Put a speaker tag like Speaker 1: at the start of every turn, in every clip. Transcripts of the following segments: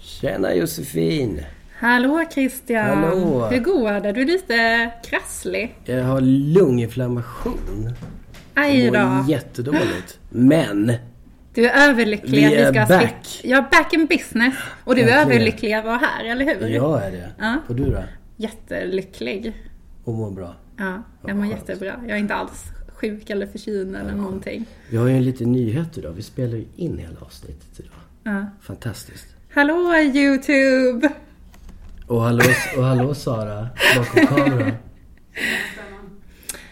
Speaker 1: Tjena Josefin!
Speaker 2: Hallå Christian!
Speaker 1: Hallå.
Speaker 2: Hur går det? Du är lite krasslig.
Speaker 1: Jag har lunginflammation.
Speaker 2: Aj
Speaker 1: Mår
Speaker 2: då.
Speaker 1: jättedåligt. Men!
Speaker 2: Du är överlycklig
Speaker 1: Vi
Speaker 2: att
Speaker 1: är
Speaker 2: vi ska
Speaker 1: back.
Speaker 2: slippa- Ja, back in business. Och du är
Speaker 1: Verkligen.
Speaker 2: överlycklig att vara här, eller hur?
Speaker 1: Jag är det.
Speaker 2: Ja.
Speaker 1: Och du då?
Speaker 2: Jättelycklig.
Speaker 1: Och mår bra.
Speaker 2: Ja,
Speaker 1: Vad
Speaker 2: jag mår
Speaker 1: skönt.
Speaker 2: jättebra. Jag är inte alls sjuk eller förkyld eller någonting.
Speaker 1: Vi har ju en liten nyhet idag. Vi spelar ju in hela avsnittet idag.
Speaker 2: Ja.
Speaker 1: Fantastiskt.
Speaker 2: Hallå YouTube!
Speaker 1: Och hallå, och hallå Sara, bakom kameran.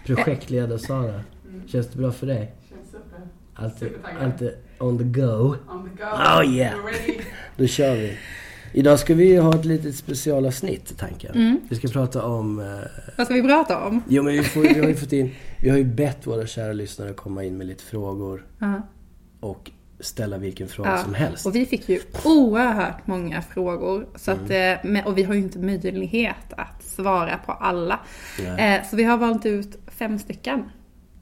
Speaker 1: Projektledar-Sara. Känns det bra för dig?
Speaker 3: Känns super.
Speaker 1: Alltid,
Speaker 3: Supertaggad.
Speaker 1: alltid on the go.
Speaker 3: On the go.
Speaker 1: Oh, yeah.
Speaker 3: We're ready.
Speaker 1: Då kör vi. Idag ska vi ju ha ett litet specialavsnitt i tanken.
Speaker 2: Mm.
Speaker 1: Vi ska prata om... Eh,
Speaker 2: Vad ska vi prata om?
Speaker 1: jo men vi, får, vi har ju fått in... Vi har ju bett våra kära lyssnare komma in med lite frågor
Speaker 2: Ja.
Speaker 1: och ställa vilken fråga
Speaker 2: Ja,
Speaker 1: som helst.
Speaker 2: Och vi fick ju oerhört många frågor. Så att,
Speaker 1: Mm.
Speaker 2: eh, men- och vi har ju inte möjlighet att svara på alla.
Speaker 1: Nej.
Speaker 2: Eh, Så vi har valt ut fem stycken.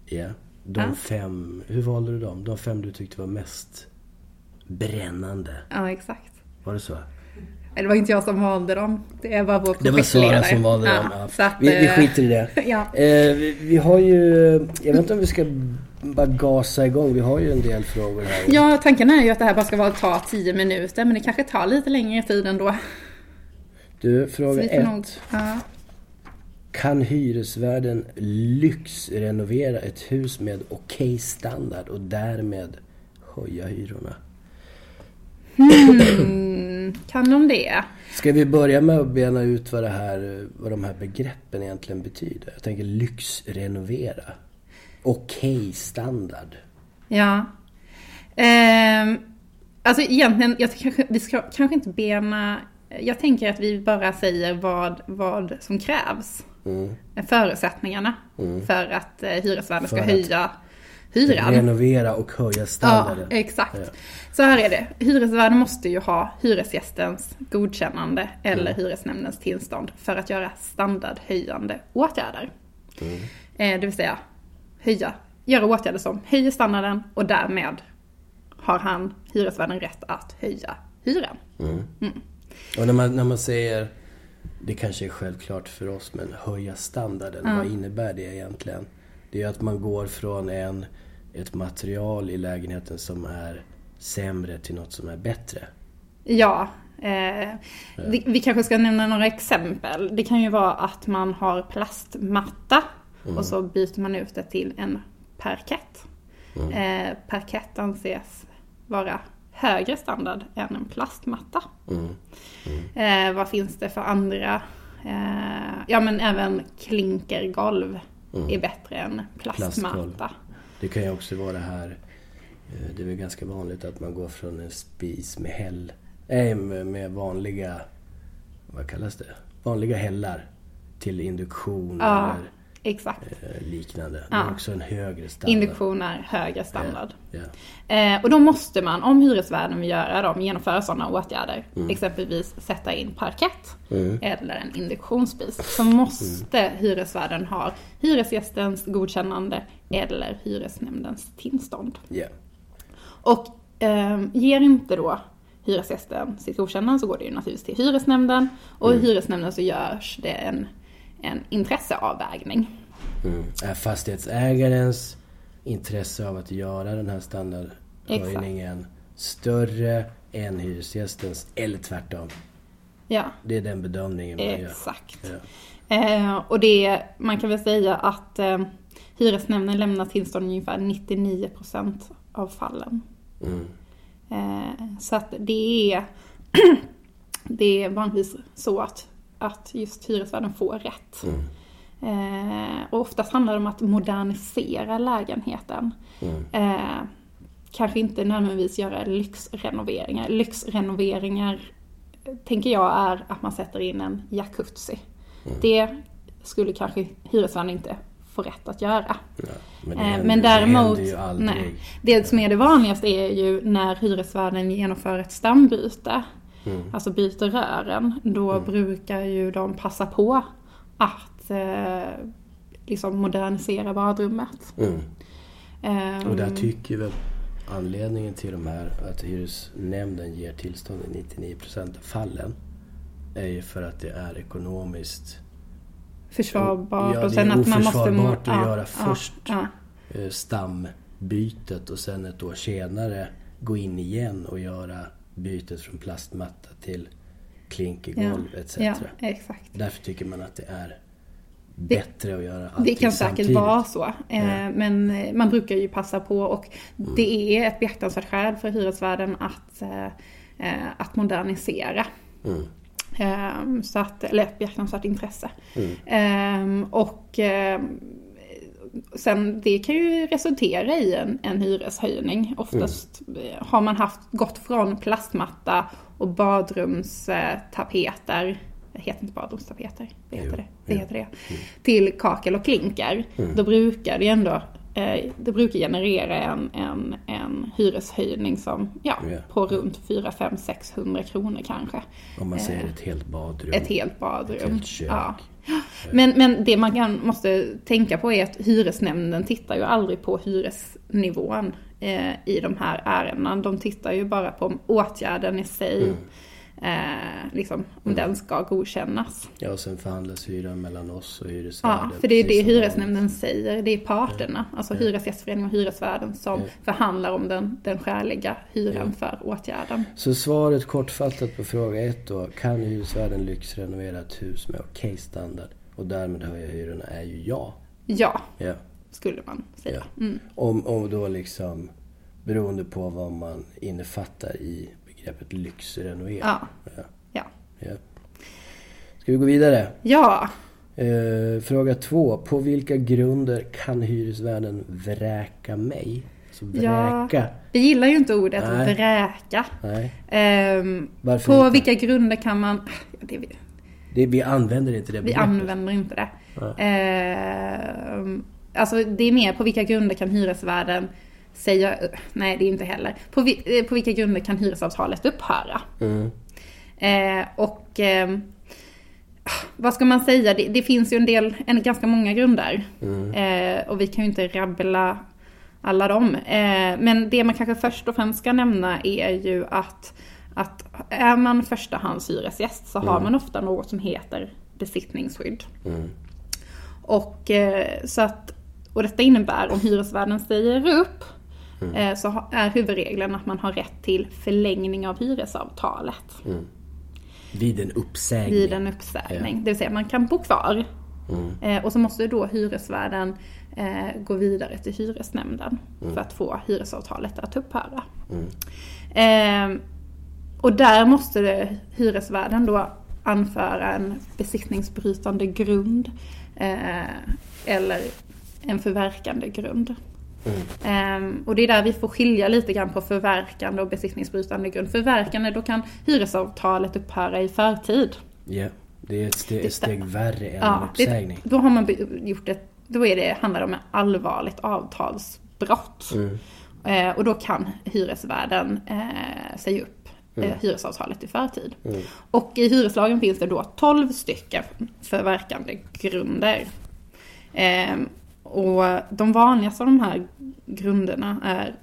Speaker 1: Ja. De
Speaker 2: Ja.
Speaker 1: fem... Hur valde du dem? De fem du tyckte var mest brännande.
Speaker 2: Ja, exakt.
Speaker 1: Var det så?
Speaker 2: Det var inte jag som valde dem. Det var vår
Speaker 1: Det var Sara
Speaker 2: projektledare.
Speaker 1: som valde
Speaker 2: ja,
Speaker 1: dem. Ja.
Speaker 2: Så att,
Speaker 1: vi, vi
Speaker 2: eh,
Speaker 1: skiter i det.
Speaker 2: Ja.
Speaker 1: Eh, vi, vi har ju... Jag vet inte om vi ska bara gasa igång. Vi har ju en del frågor här.
Speaker 2: Ja, tanken är ju att det här bara ska vara, ta 10 minuter, men det kanske tar lite längre tid ändå.
Speaker 1: Du,
Speaker 2: Så
Speaker 1: fråga
Speaker 2: vi får
Speaker 1: ett.
Speaker 2: nog- ja.
Speaker 1: Kan hyresvärden lyxrenovera ett hus med okej standard och därmed höja hyrorna?
Speaker 2: Mm. Kan de det?
Speaker 1: Ska vi börja med att bena ut vad, det här, vad de här begreppen egentligen betyder? Jag tänker lyxrenovera. Okej standard.
Speaker 2: Ja. Ehm, alltså egentligen, jag kanske, vi ska kanske inte bena... Jag tänker att vi bara säger vad, vad som krävs.
Speaker 1: Mm.
Speaker 2: Förutsättningarna för att eh, hyresvärden ska
Speaker 1: För att-
Speaker 2: höja hyran.
Speaker 1: Renovera och höja
Speaker 2: Ja,
Speaker 1: standarden.
Speaker 2: exakt.
Speaker 1: Ja.
Speaker 2: Så här är det. Hyresvärden måste ju ha hyresgästens godkännande eller hyresnämndens tillstånd för att göra standardhöjande åtgärder. Eh, Det vill säga höja, göra åtgärder som höjer standarden och därmed har han, hyresvärden, rätt att höja hyran.
Speaker 1: Och när man, när man säger, det kanske är självklart för oss, men höja standarden. Vad innebär det egentligen? Det är ju att man går från en, ett material i lägenheten som är sämre till något som är bättre.
Speaker 2: Ja. Eh, vi, vi kanske ska nämna några exempel. Det kan ju vara att man har plastmatta och så byter man ut det till en parkett. Eh, parkett anses vara högre standard än en plastmatta. Eh, vad finns det för andra? Eh, ja men även klinkergolv är bättre än
Speaker 1: Plastgolv.
Speaker 2: plastmatta.
Speaker 1: Det kan ju också vara det här, eh, det är väl ganska vanligt att man går från en spis med häll, nej med med vanliga, vad kallas det? Vanliga hällar till induktion
Speaker 2: Ja, exakt.
Speaker 1: eller eh, liknande. Det är
Speaker 2: Ja.
Speaker 1: också en högre standard.
Speaker 2: Induktion är högre standard.
Speaker 1: Ja.
Speaker 2: Eh, och då måste man, om hyresvärden vill göra dem, genomföra sådana åtgärder, exempelvis sätta in parkett eller en induktionsspis, så måste hyresvärden ha hyresgästens godkännande eller hyresnämndens tillstånd.
Speaker 1: Ja.
Speaker 2: Och eh, ger inte då hyresgästen sitt godkännande så går det ju naturligtvis till hyresnämnden och i hyresnämnden så görs det en, en intresseavvägning.
Speaker 1: Mm. Är fastighetsägarens intresse av att göra den här standardhöjningen större än hyresgästens eller tvärtom?
Speaker 2: Ja.
Speaker 1: Det är den bedömningen man gör.
Speaker 2: Exakt. Eh, och det, man kan väl säga att eh, hyresnämnden lämnar tillstånd i ungefär 99% av fallen.
Speaker 1: Mm.
Speaker 2: Eh, så att det är, det är vanligtvis så att, att just hyresvärden får rätt. Eh, och oftast handlar det om att modernisera lägenheten.
Speaker 1: mm,
Speaker 2: Eh, kanske inte nödvändigvis göra lyxrenoveringar. Lyxrenoveringar eh, tänker jag är att man sätter in en jacuzzi. Det skulle kanske hyresvärden inte få rätt att göra.
Speaker 1: Ja. Men, det
Speaker 2: Eh,
Speaker 1: händer-
Speaker 2: Men
Speaker 1: Det händer
Speaker 2: däremot,
Speaker 1: ju aldrig.
Speaker 2: nej. Det som är det vanligaste är ju när hyresvärden genomför ett stambyte, alltså byter rören, då brukar ju de passa på att eh, liksom modernisera badrummet.
Speaker 1: Mm.
Speaker 2: Ehm,
Speaker 1: Och där tycker väl Anledningen till de här, att hyresnämnden ger tillstånd i 99 procent av fallen, är ju för att det är ekonomiskt
Speaker 2: Försvarbart
Speaker 1: Ja,
Speaker 2: och sen att man måste... må-
Speaker 1: oförsvarbart att göra först.
Speaker 2: Ja,
Speaker 1: eh, stambytet och sen ett år senare gå in igen och göra bytet från plastmatta till klinkergolv etc.
Speaker 2: ja, exakt.
Speaker 1: Därför tycker man att det är bättre att göra allting
Speaker 2: Det kan säkert
Speaker 1: samtidigt.
Speaker 2: vara så, eh,
Speaker 1: Ja. Mm.
Speaker 2: men eh, man brukar ju passa på och det är ett beaktansvärt skäl för hyresvärden att, eh, eh, att modernisera.
Speaker 1: Mm.
Speaker 2: Ehm, Så att, eller ett behjärtansvärt intresse.
Speaker 1: Mm.
Speaker 2: Ehm, och ehm, sen det kan ju resultera i en, en hyreshöjning. Oftast eh, har man haft, gått från plastmatta och badrumstapeter, det heter inte badrumstapeter, det heter
Speaker 1: Jo,
Speaker 2: det, det,
Speaker 1: jo.
Speaker 2: heter det
Speaker 1: Mm.
Speaker 2: till kakel och klinker. Då brukar det ändå eh, det brukar generera en, en, en hyreshöjning som, ja,
Speaker 1: Ja.
Speaker 2: på runt 4, 5, 600 kronor kanske
Speaker 1: Om man säger ett helt badrum.
Speaker 2: eh, ett helt badrum.
Speaker 1: Ett helt kök.
Speaker 2: Ja. Men, men det man kan, måste tänka på är att hyresnämnden tittar ju aldrig på hyresnivån eh, i de här ärendena. De tittar ju bara på om åtgärden i sig,
Speaker 1: Mm.
Speaker 2: eh, liksom, om den ska godkännas.
Speaker 1: Ja, och sen förhandlas hyran mellan oss och hyresvärden.
Speaker 2: Ja, för det är det
Speaker 1: precis som
Speaker 2: hyresnämnden säger. Det är parterna, alltså Hyresgästföreningen och hyresvärden som förhandlar om den, den skäliga hyran för åtgärden.
Speaker 1: Så svaret kortfattat på fråga ett då. Kan hyresvärden lyxrenovera ett hus med okej standard och därmed höja hyrorna? Är ju ja.
Speaker 2: Ja,
Speaker 1: ja.
Speaker 2: skulle man säga. Mm.
Speaker 1: Ja. Om, om då liksom beroende på vad man innefattar i begreppet lyxrenovering.
Speaker 2: Ja.
Speaker 1: Ja.
Speaker 2: Ja.
Speaker 1: Ja. Ska vi gå vidare?
Speaker 2: ja.
Speaker 1: Eh, fråga två. På vilka grunder kan hyresvärden vräka mig? Alltså
Speaker 2: Ja.
Speaker 1: vräka?
Speaker 2: Vi gillar ju inte ordet
Speaker 1: Nej.
Speaker 2: vräka.
Speaker 1: Nej.
Speaker 2: Ehm,
Speaker 1: Varför
Speaker 2: på
Speaker 1: inte?
Speaker 2: vilka grunder kan man... Ja, Det, vi
Speaker 1: Det, vi använder inte det
Speaker 2: vi
Speaker 1: begreppet.
Speaker 2: använder inte det. Ehm, alltså det är mer på vilka grunder kan hyresvärden säga... Nej, det är inte heller. På, vi, eh, på vilka grunder kan hyresavtalet upphöra?
Speaker 1: Mm.
Speaker 2: Eh, och ehm, vad ska man säga? Det, det finns ju en del, en, ganska många grunder. Eh, och vi kan ju inte rabbla alla dem. Eh, men det man kanske först och främst ska nämna är ju att, att är man förstahandshyresgäst så har man ofta något som heter besittningsskydd.
Speaker 1: Mm.
Speaker 2: Och, eh, så att, och detta innebär om hyresvärden säger upp eh, så ha- är huvudregeln att man har rätt till förlängning av hyresavtalet
Speaker 1: Vid en uppsägning.
Speaker 2: vid en uppsägning. Det vill säga man kan bo kvar. Eh, och så måste då hyresvärden eh, gå vidare till hyresnämnden för att få hyresavtalet att upphöra. Eh, och där måste det, hyresvärden då anföra en besiktningsbrytande grund eh, eller en förverkande grund. Ehm, och det är där vi får skilja lite grann på förverkande och besiktningsbrytande grund. Förverkande, då kan hyresavtalet upphöra i förtid.
Speaker 1: Ja. Det är ett steg, ett steg värre än en
Speaker 2: det,
Speaker 1: uppsägning.
Speaker 2: då har man be- gjort ett, då är det, handlar det om ett allvarligt avtalsbrott.
Speaker 1: Mm.
Speaker 2: Eh, och då kan hyresvärden eh, säga upp
Speaker 1: Mm.
Speaker 2: eh, hyresavtalet i förtid. Och i hyreslagen finns det då 12 stycken förverkande grunder. Eh, och de vanligaste av de här grunderna är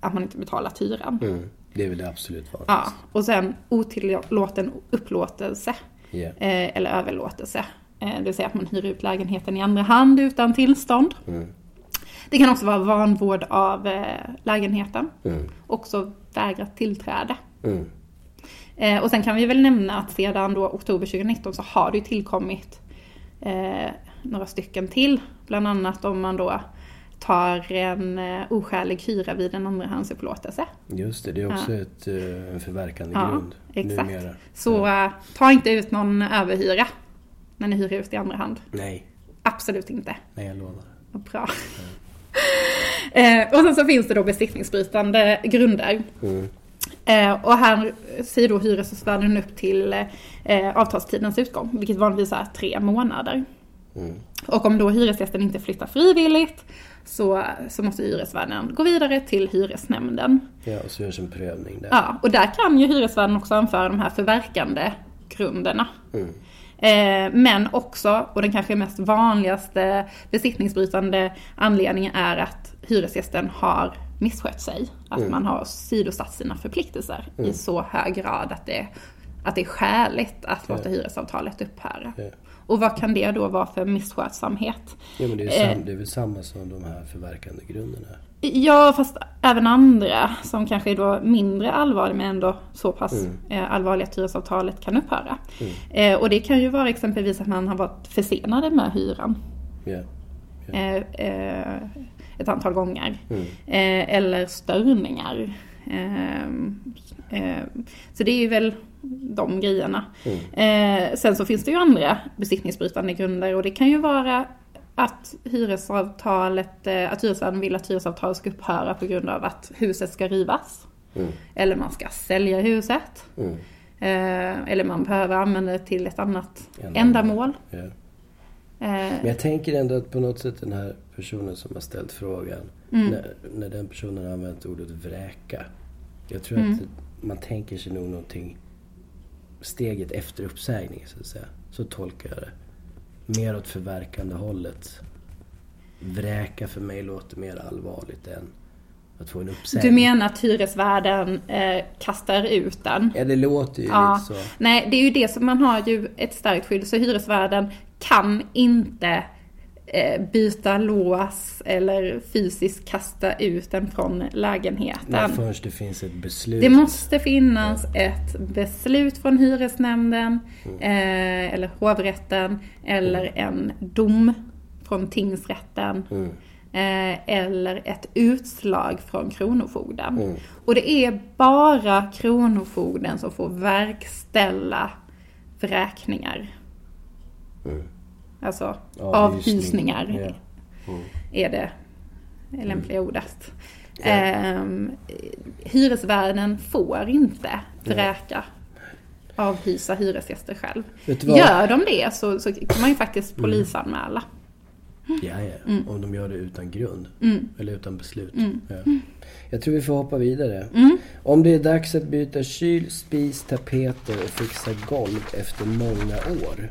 Speaker 2: att man inte betalat hyran.
Speaker 1: Mm. Det är väl det absolut vanligaste.
Speaker 2: Ja, och sen otillåten upplåtelse
Speaker 1: Ja.
Speaker 2: eh, eller överlåtelse. Eh, det vill säga att man hyr ut lägenheten i andra hand utan tillstånd. Det kan också vara vanvård av eh, lägenheten.
Speaker 1: Mm.
Speaker 2: Också vägrat tillträde.
Speaker 1: Mm.
Speaker 2: Eh, och sen kan vi väl nämna att sedan då oktober 2019 så har det ju tillkommit eh, några stycken till. Bland annat om man då tar en eh, oskälig hyra vid en andrahandsupplåtelse.
Speaker 1: Just det, det är också ett, eh, en förverkande
Speaker 2: Ja,
Speaker 1: grund.
Speaker 2: exakt.
Speaker 1: Numera.
Speaker 2: Så eh, ta inte ut någon överhyra när ni hyr ut i andra hand.
Speaker 1: Nej,
Speaker 2: Absolut inte.
Speaker 1: nej jag lovar.
Speaker 2: Vad bra. Eh, och sen så finns det då besiktningsbrytande grunder. Eh, och här säger då hyresvärden upp till eh, avtalstidens utgång, vilket vanligtvis är tre månader.
Speaker 1: Mm.
Speaker 2: Och om då hyresgästen inte flyttar frivilligt så, så måste hyresvärden gå vidare till hyresnämnden.
Speaker 1: Ja, och så görs en prövning där.
Speaker 2: Ja, och där kan ju hyresvärden också anföra de här förverkande grunderna.
Speaker 1: Mm.
Speaker 2: Eh, men också, och den kanske mest vanligaste besittningsbrytande anledningen är att hyresgästen har misskött sig. Att
Speaker 1: Mm.
Speaker 2: man har sidosatt sina förpliktelser
Speaker 1: Mm.
Speaker 2: i så hög grad att det, att det är skäligt att låta
Speaker 1: Ja.
Speaker 2: hyresavtalet upphöra.
Speaker 1: Ja.
Speaker 2: Och vad kan det då vara för misskötsamhet?
Speaker 1: Ja, men det, är ju
Speaker 2: eh,
Speaker 1: sam, det är väl samma som de här förverkandegrunderna.
Speaker 2: Ja, fast även andra som kanske är då mindre allvarliga men ändå så pass
Speaker 1: Mm.
Speaker 2: eh, allvarliga att hyresavtalet kan upphöra.
Speaker 1: Mm.
Speaker 2: Eh, Och det kan ju vara exempelvis att man har varit försenade med hyran
Speaker 1: Ja.
Speaker 2: eh, eh, ett antal gånger.
Speaker 1: Mm.
Speaker 2: Eh, Eller störningar. Ehm, eh, Så det är ju väl de grejerna.
Speaker 1: Mm.
Speaker 2: Eh, Sen så finns det ju andra besittningsbrytande grunder och det kan ju vara att hyresavtalet, eh, att hyresvärden vill att hyresavtalet ska upphöra på grund av att huset ska rivas.
Speaker 1: Mm.
Speaker 2: Eller man ska sälja huset.
Speaker 1: Mm.
Speaker 2: Eh, Eller man behöver använda det till ett annat
Speaker 1: Ändamål.
Speaker 2: ändamål.
Speaker 1: Ja.
Speaker 2: Eh,
Speaker 1: Men jag tänker ändå att på något sätt den här personen som har ställt frågan,
Speaker 2: Mm.
Speaker 1: när, när den personen har använt ordet vräka. Jag tror att
Speaker 2: Mm.
Speaker 1: man tänker sig nog någonting steget efter uppsägning så att säga. Så tolkar jag det. Mer åt förverkande hållet. Vräka för mig låter mer allvarligt än att få en
Speaker 2: Du
Speaker 1: uppsägning.
Speaker 2: menar att hyresvärden eh, kastar ut den?
Speaker 1: Ja, det låter ju
Speaker 2: Ja.
Speaker 1: lite så.
Speaker 2: Nej, det är ju det som man har ju ett starkt skydd. Så hyresvärden kan inte eh, byta lås eller fysiskt kasta ut den från
Speaker 1: Men
Speaker 2: lägenheten.
Speaker 1: först det finns ett beslut.
Speaker 2: Det måste finnas ett beslut från hyresnämnden
Speaker 1: Mm.
Speaker 2: eh, eller hovrätten eller en dom från tingsrätten.
Speaker 1: Mm.
Speaker 2: Eh, eller ett utslag från Kronofogden.
Speaker 1: Mm.
Speaker 2: Och det är bara Kronofogden som får verkställa vräkningar.
Speaker 1: Mm.
Speaker 2: Alltså
Speaker 1: Avhysning.
Speaker 2: avhysningar
Speaker 1: Ja. Mm.
Speaker 2: är det lämpliga ordet. Ehm, hyresvärden får inte vräka, avhysa hyresgäster själv.
Speaker 1: Vet du vad? Mm.
Speaker 2: Gör de det så, så kan man ju faktiskt polisanmäla.
Speaker 1: Ja, ja.
Speaker 2: Mm.
Speaker 1: Om de gör det utan grund. Eller utan beslut. Ja.
Speaker 2: Mm.
Speaker 1: Jag tror vi får hoppa vidare. Om det är dags att byta kyl, spis, tapeter och fixa golv efter många år.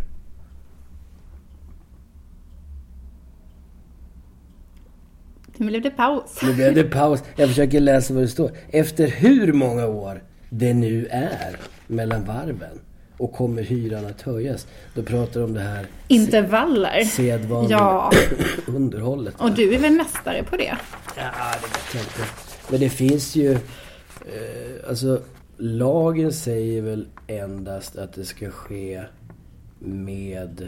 Speaker 2: Nu blev det paus.
Speaker 1: Nu blev det paus. Jag försöker läsa vad det står. Efter hur många år det nu är mellan varven och kommer hyran att höjas. Då pratar de om det här
Speaker 2: Intervaller.
Speaker 1: sedvanliga
Speaker 2: Eh, Ja,
Speaker 1: underhållet.
Speaker 2: och du är väl mästare på det?
Speaker 1: Ja, det vet jag inte. Men det finns ju... Eh, alltså, lagen säger väl endast att det ska ske med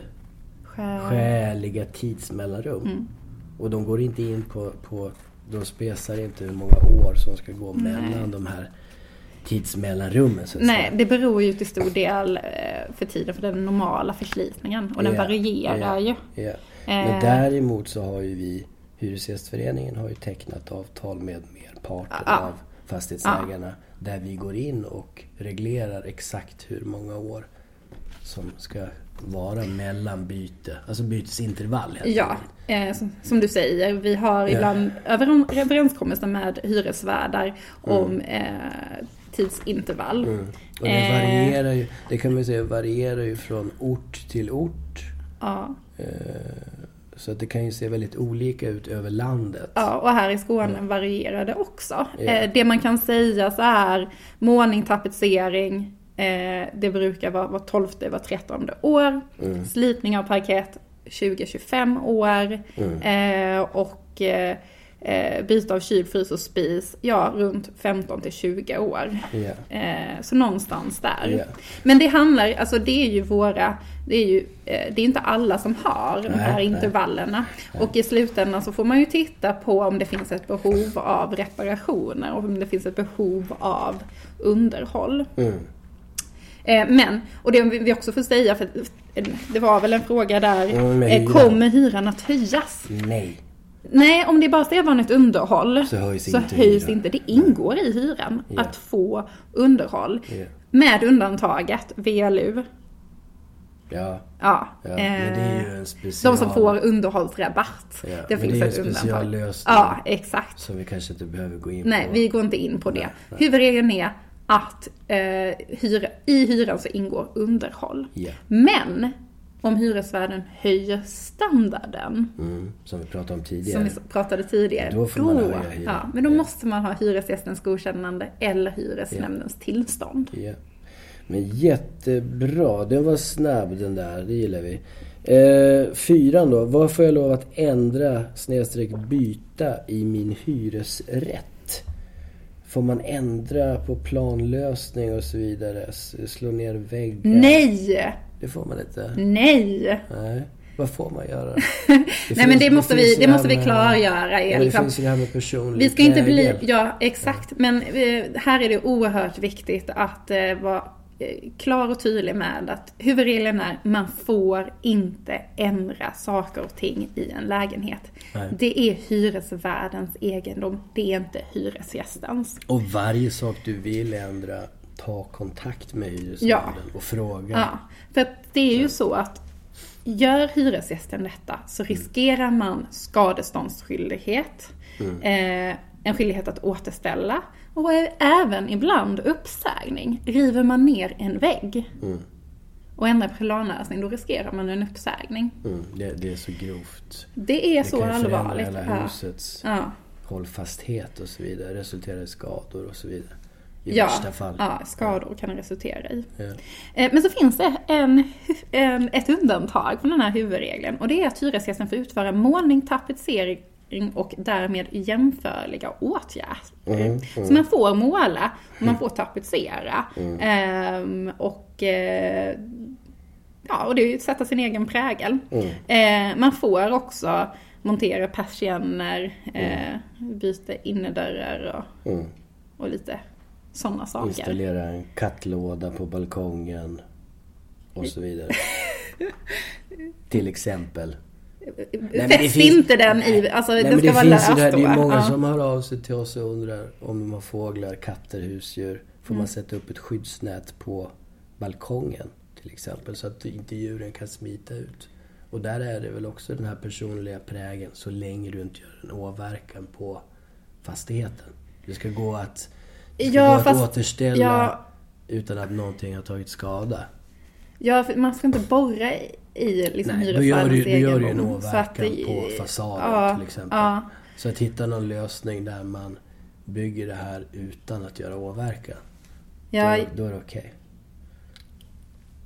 Speaker 2: Själv.
Speaker 1: skäliga tidsmellanrum. Och de går inte in på, på... De spesar inte hur många år som ska gå mellan de här tidsmellanrummen. Så att
Speaker 2: Nej,
Speaker 1: säga.
Speaker 2: det beror ju till stor del eh, för tiden för den normala förslitningen och den
Speaker 1: Ja,
Speaker 2: varierar
Speaker 1: ja,
Speaker 2: ju.
Speaker 1: ja. Men
Speaker 2: Eh.
Speaker 1: däremot så har ju vi... Hyresgästföreningen har ju tecknat avtal med merparten
Speaker 2: Ja.
Speaker 1: av fastighetsägarna. Där vi går in och reglerar exakt hur många år som ska vara mellan byte. Alltså bytesintervall helt
Speaker 2: Ja,
Speaker 1: enkelt.
Speaker 2: eh, som, som du säger, vi har ibland över, överenskommelser med hyresvärdar om eh, tidsintervall.
Speaker 1: Mm. Och det
Speaker 2: Eh.
Speaker 1: varierar ju, det kan man ju säga varierar ju från ort till ort.
Speaker 2: Ja.
Speaker 1: Eh, Så att det kan ju se väldigt olika ut över landet.
Speaker 2: Ja, och här i Skåne varierar det också.
Speaker 1: Mm. Ja.
Speaker 2: Eh, det man kan säga så här, målning, tapetsering, eh, det brukar vara var 12, var 13 år.
Speaker 1: Mm.
Speaker 2: Slipning av parkett, 20-25 år.
Speaker 1: Mm.
Speaker 2: Eh, och eh, eh, byte av kyl, frys och spis, ja runt 15 till 20 år.
Speaker 1: Ja.
Speaker 2: Eh, så någonstans där.
Speaker 1: Ja.
Speaker 2: Men det handlar, alltså det är ju våra, det är ju, eh, det är inte alla som har de
Speaker 1: Nej,
Speaker 2: här
Speaker 1: nej.
Speaker 2: intervallerna. Och i slutändan så får man ju titta på om det finns ett behov av reparationer och om det finns ett behov av underhåll.
Speaker 1: Mm.
Speaker 2: Eh, Men, och det vi också får säga, för eh, det var väl en fråga där,
Speaker 1: Mm, med
Speaker 2: eh,
Speaker 1: hyran.
Speaker 2: kommer hyran att höjas?
Speaker 1: Nej.
Speaker 2: Nej, om det är bara sedvanligt underhåll
Speaker 1: Så höjs inte
Speaker 2: höjs
Speaker 1: hyran.
Speaker 2: inte. Det ingår i hyran
Speaker 1: Ja.
Speaker 2: att få underhåll.
Speaker 1: Ja.
Speaker 2: Med undantaget VLU.
Speaker 1: Ja.
Speaker 2: Ja.
Speaker 1: Ja, men det är
Speaker 2: eh,
Speaker 1: ju en special...
Speaker 2: De som får underhållsrabatt.
Speaker 1: Ja,
Speaker 2: det
Speaker 1: men
Speaker 2: finns
Speaker 1: det är ju
Speaker 2: ett
Speaker 1: en
Speaker 2: undantag.
Speaker 1: speciallösning.
Speaker 2: Ja, exakt.
Speaker 1: Som vi kanske inte behöver gå in
Speaker 2: Nej,
Speaker 1: på.
Speaker 2: vi går inte in på det.
Speaker 1: Nej,
Speaker 2: Huvudregeln är att eh, hyra, i hyran så ingår underhåll.
Speaker 1: Ja.
Speaker 2: Men om hyresvärden höjer standarden,
Speaker 1: Mm, som vi pratade om
Speaker 2: som
Speaker 1: tidigare.
Speaker 2: vi pratade tidigare,
Speaker 1: Då får man höja hyran.
Speaker 2: ja, men då
Speaker 1: Ja.
Speaker 2: måste man ha hyresgästens godkännande eller hyresnämndens tillstånd.
Speaker 1: Ja. Men jättebra, den var snabb den där, det gillar vi. Eh, fyran då, vad får jag lov att ändra snedstreck byta i min hyresrätt? Får man ändra på planlösning och så vidare? S- Slå ner väggar?
Speaker 2: Nej!
Speaker 1: Det får man inte.
Speaker 2: Nej!
Speaker 1: Nej. Vad får man göra?
Speaker 2: Nej men det måste vi, det måste vi klargöra.
Speaker 1: eh, Ja,
Speaker 2: Är
Speaker 1: det
Speaker 2: liksom,
Speaker 1: finns ju det här med personligt
Speaker 2: Vi ska inte bli,
Speaker 1: läge.
Speaker 2: ja exakt, men eh, här är det oerhört viktigt att eh, vara eh, klar och tydlig med att huvudregeln är man får inte ändra saker och ting i en lägenhet.
Speaker 1: Nej.
Speaker 2: Det är hyresvärdens egendom, det är inte hyresgästens.
Speaker 1: Och varje sak du vill ändra, ta kontakt med hyresvärden och fråga.
Speaker 2: Ja, för att det är ju så att gör hyresgästen detta så
Speaker 1: Mm.
Speaker 2: riskerar man skadeståndsskyldighet,
Speaker 1: Mm.
Speaker 2: eh, en skyldighet att återställa och ä- även ibland uppsägning. River man ner en vägg
Speaker 1: Mm.
Speaker 2: och ändrar planlösning, då riskerar man en uppsägning.
Speaker 1: Mm, det, det är så grovt.
Speaker 2: Det är
Speaker 1: det
Speaker 2: så
Speaker 1: kan ju förändra
Speaker 2: allvarligt.
Speaker 1: hela
Speaker 2: Ja.
Speaker 1: husets
Speaker 2: Ja.
Speaker 1: hållfasthet och så vidare. Resulterar i skador och så vidare. I
Speaker 2: Ja,
Speaker 1: värsta fall.
Speaker 2: ja, skador kan det resultera i.
Speaker 1: Ja.
Speaker 2: Eh, Men så finns det en, en, ett undantag från den här huvudregeln och det är att hyresgästen får utföra målning, tapetsering och därmed jämförliga åtgärder.
Speaker 1: Mm,
Speaker 2: Så man får måla och man får tapetsera.
Speaker 1: Mm.
Speaker 2: Ehm, och, eh, ja, och det är ju att sätta sin egen prägel.
Speaker 1: Mm.
Speaker 2: Eh, man får också montera persienner, eh, byta innerdörrar och,
Speaker 1: Mm.
Speaker 2: och lite sådana saker.
Speaker 1: Installera en kattlåda på balkongen. Och så vidare. Till exempel. men det
Speaker 2: Eh, Fäst
Speaker 1: finns-
Speaker 2: inte den i, alltså
Speaker 1: Nej,
Speaker 2: den
Speaker 1: men
Speaker 2: ska vara löst
Speaker 1: ju det, här, det är
Speaker 2: då.
Speaker 1: många
Speaker 2: ja.
Speaker 1: som hör av sig till oss och undrar om de har fåglar, katter, husdjur. Får
Speaker 2: Mm.
Speaker 1: man sätta upp ett skyddsnät på balkongen till exempel så att inte djuren kan smita ut? Och där är det väl också den här personliga prägen så länge du inte gör en åverkan på fastigheten. Det ska gå att, det ska
Speaker 2: Ja,
Speaker 1: gå att
Speaker 2: fast-
Speaker 1: återställa
Speaker 2: ja.
Speaker 1: utan att någonting har tagit skada.
Speaker 2: ja, för man ska inte borra i- i liksom
Speaker 1: Nej, då gör du,
Speaker 2: hyresvärdens
Speaker 1: då gör du en
Speaker 2: egendom. så att
Speaker 1: åverkan
Speaker 2: det-
Speaker 1: på fasaden
Speaker 2: ja,
Speaker 1: till exempel.
Speaker 2: Ja,
Speaker 1: Så att hitta någon lösning där man bygger det här utan att göra åverkan.
Speaker 2: ja,
Speaker 1: Då, då är det okej.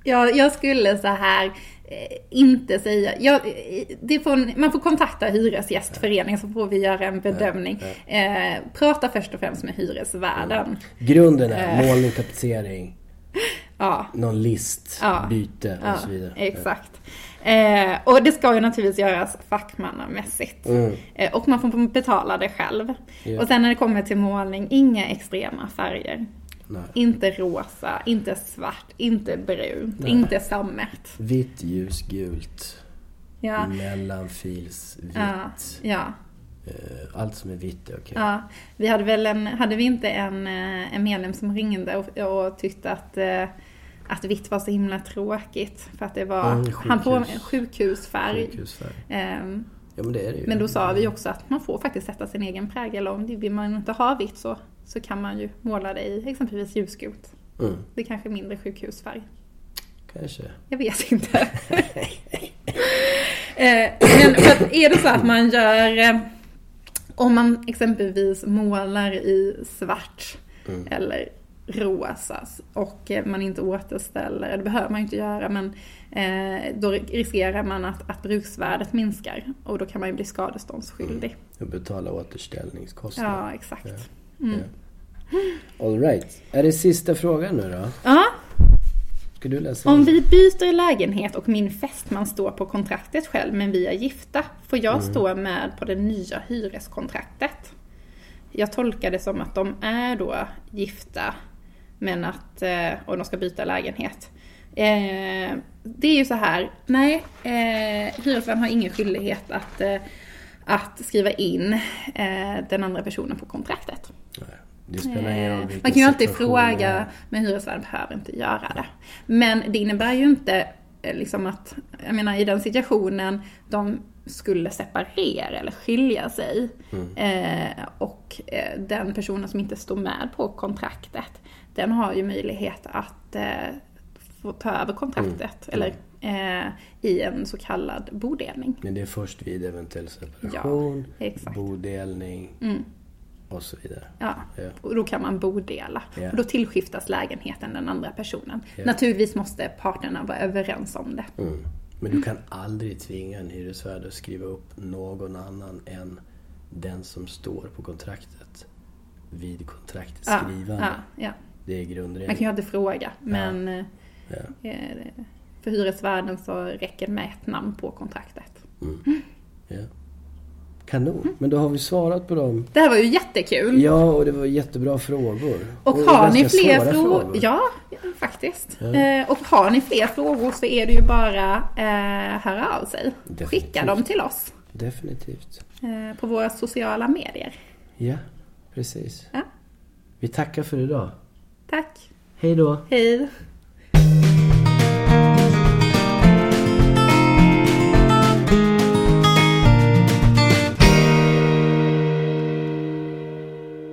Speaker 2: jag, jag skulle så här eh, inte säga, jag, eh, det får, en- man får kontakta Hyresgästföreningen så får vi göra en bedömning. Eh, prata först och främst med hyresvärden.
Speaker 1: Grunden
Speaker 2: Eh.
Speaker 1: är målning, tapetsering,
Speaker 2: Ja.
Speaker 1: någon list,
Speaker 2: Ja.
Speaker 1: byte och
Speaker 2: Ja,
Speaker 1: så vidare.
Speaker 2: Exakt. Eh, och det ska ju naturligtvis göras fackmannamässigt. Eh, och man får betala det själv.
Speaker 1: Mm. Ja.
Speaker 2: Och sen när det kommer till målning, inga extrema färger.
Speaker 1: Nej.
Speaker 2: Inte rosa, inte svart, inte brunt, inte sammet.
Speaker 1: Vitt, ljus, gult,
Speaker 2: Ja,
Speaker 1: Mm. mellanfils, vitt.
Speaker 2: ja, ja,
Speaker 1: Eh, Allt som är vitt är okej.
Speaker 2: ja. Vi hade väl en, hade vi inte en, eh, en medlem som ringde och, och tyckte att eh, att vitt var så himla tråkigt för att det var
Speaker 1: Mm,
Speaker 2: han på,
Speaker 1: sjukhus.
Speaker 2: sjukhusfärg.
Speaker 1: Sjukhusfärg.
Speaker 2: Ehm,
Speaker 1: Ja men det är det ju.
Speaker 2: Men då sa vi också att man får faktiskt sätta sin egen prägel och om det vill man inte ha vitt så, så kan man ju måla det i exempelvis ljusgult.
Speaker 1: Mm,
Speaker 2: Det är kanske är mindre sjukhusfärg.
Speaker 1: kanske.
Speaker 2: Jag vet inte. Eh, Men för att är det så att man gör, eh, om man exempelvis målar i svart
Speaker 1: Mm.
Speaker 2: eller rosa och eh, man inte återställer, det behöver man ju inte göra, men eh, då riskerar man att, att bruksvärdet minskar och då kan man ju bli skadeståndsskyldig.
Speaker 1: Och betala återställningskostnader.
Speaker 2: Ja, exakt.
Speaker 1: Ja. All right. Är det sista frågan nu då?
Speaker 2: Ja,
Speaker 1: Ska du läsa?
Speaker 2: om vi byter lägenhet och min fästman står på kontraktet själv men vi är gifta, får jag stå med på det nya hyreskontraktet? Jag tolkar det som att de är då gifta men att, eh, och de ska byta lägenhet. Eh, det är ju så här, nej, eh, hyresvärden har ingen skyldighet att, eh, att skriva in eh, den andra personen på kontraktet.
Speaker 1: Nej, Det spelar ingen roll
Speaker 2: Eh,
Speaker 1: vilken
Speaker 2: Man kan ju alltid
Speaker 1: situation det
Speaker 2: fråga,
Speaker 1: är.
Speaker 2: men hyresvärden behöver inte göra det. Men det innebär ju inte eh, liksom att, jag menar i den situationen, de skulle separera eller skilja sig. Eh, och eh, den personen som inte står med på kontraktet, den har ju möjlighet att eh, få ta över kontraktet. Eller eh, i en så kallad bodelning.
Speaker 1: Men det är först vid eventuell separation,
Speaker 2: exakt.
Speaker 1: bodelning
Speaker 2: Mm.
Speaker 1: och så vidare.
Speaker 2: Ja,
Speaker 1: Ja.
Speaker 2: och då kan man bodela.
Speaker 1: Ja.
Speaker 2: Och då tillskiftas lägenheten den andra personen.
Speaker 1: Ja.
Speaker 2: Naturligtvis måste parterna vara överens om det.
Speaker 1: Mm. Men du kan aldrig tvinga en hyresvärd att skriva upp någon annan än den som står på kontraktet vid kontraktets
Speaker 2: Ja,
Speaker 1: skrivande.
Speaker 2: ja, ja.
Speaker 1: Det är
Speaker 2: Ah, Man
Speaker 1: grundregeln.
Speaker 2: kan ju alltid fråga, men eh,
Speaker 1: Ja.
Speaker 2: eh, för hyresvärden så räcker det med ett namn på kontraktet.
Speaker 1: Ja. Kanon, men då har vi svarat på dem.
Speaker 2: Det här var ju jättekul!
Speaker 1: Ja, och det var jättebra frågor.
Speaker 2: Och har ni
Speaker 1: ganska
Speaker 2: fler
Speaker 1: svåra
Speaker 2: frågor? Ja, ja, faktiskt.
Speaker 1: Ja.
Speaker 2: Eh, och har ni fler frågor så är det ju bara eh, höra av sig. Skicka
Speaker 1: Definitivt.
Speaker 2: dem till oss
Speaker 1: Definitivt.
Speaker 2: eh, på våra sociala medier.
Speaker 1: Ja, precis.
Speaker 2: Ja.
Speaker 1: Vi tackar för idag.
Speaker 2: Tack!
Speaker 1: Hej då!
Speaker 2: Hej!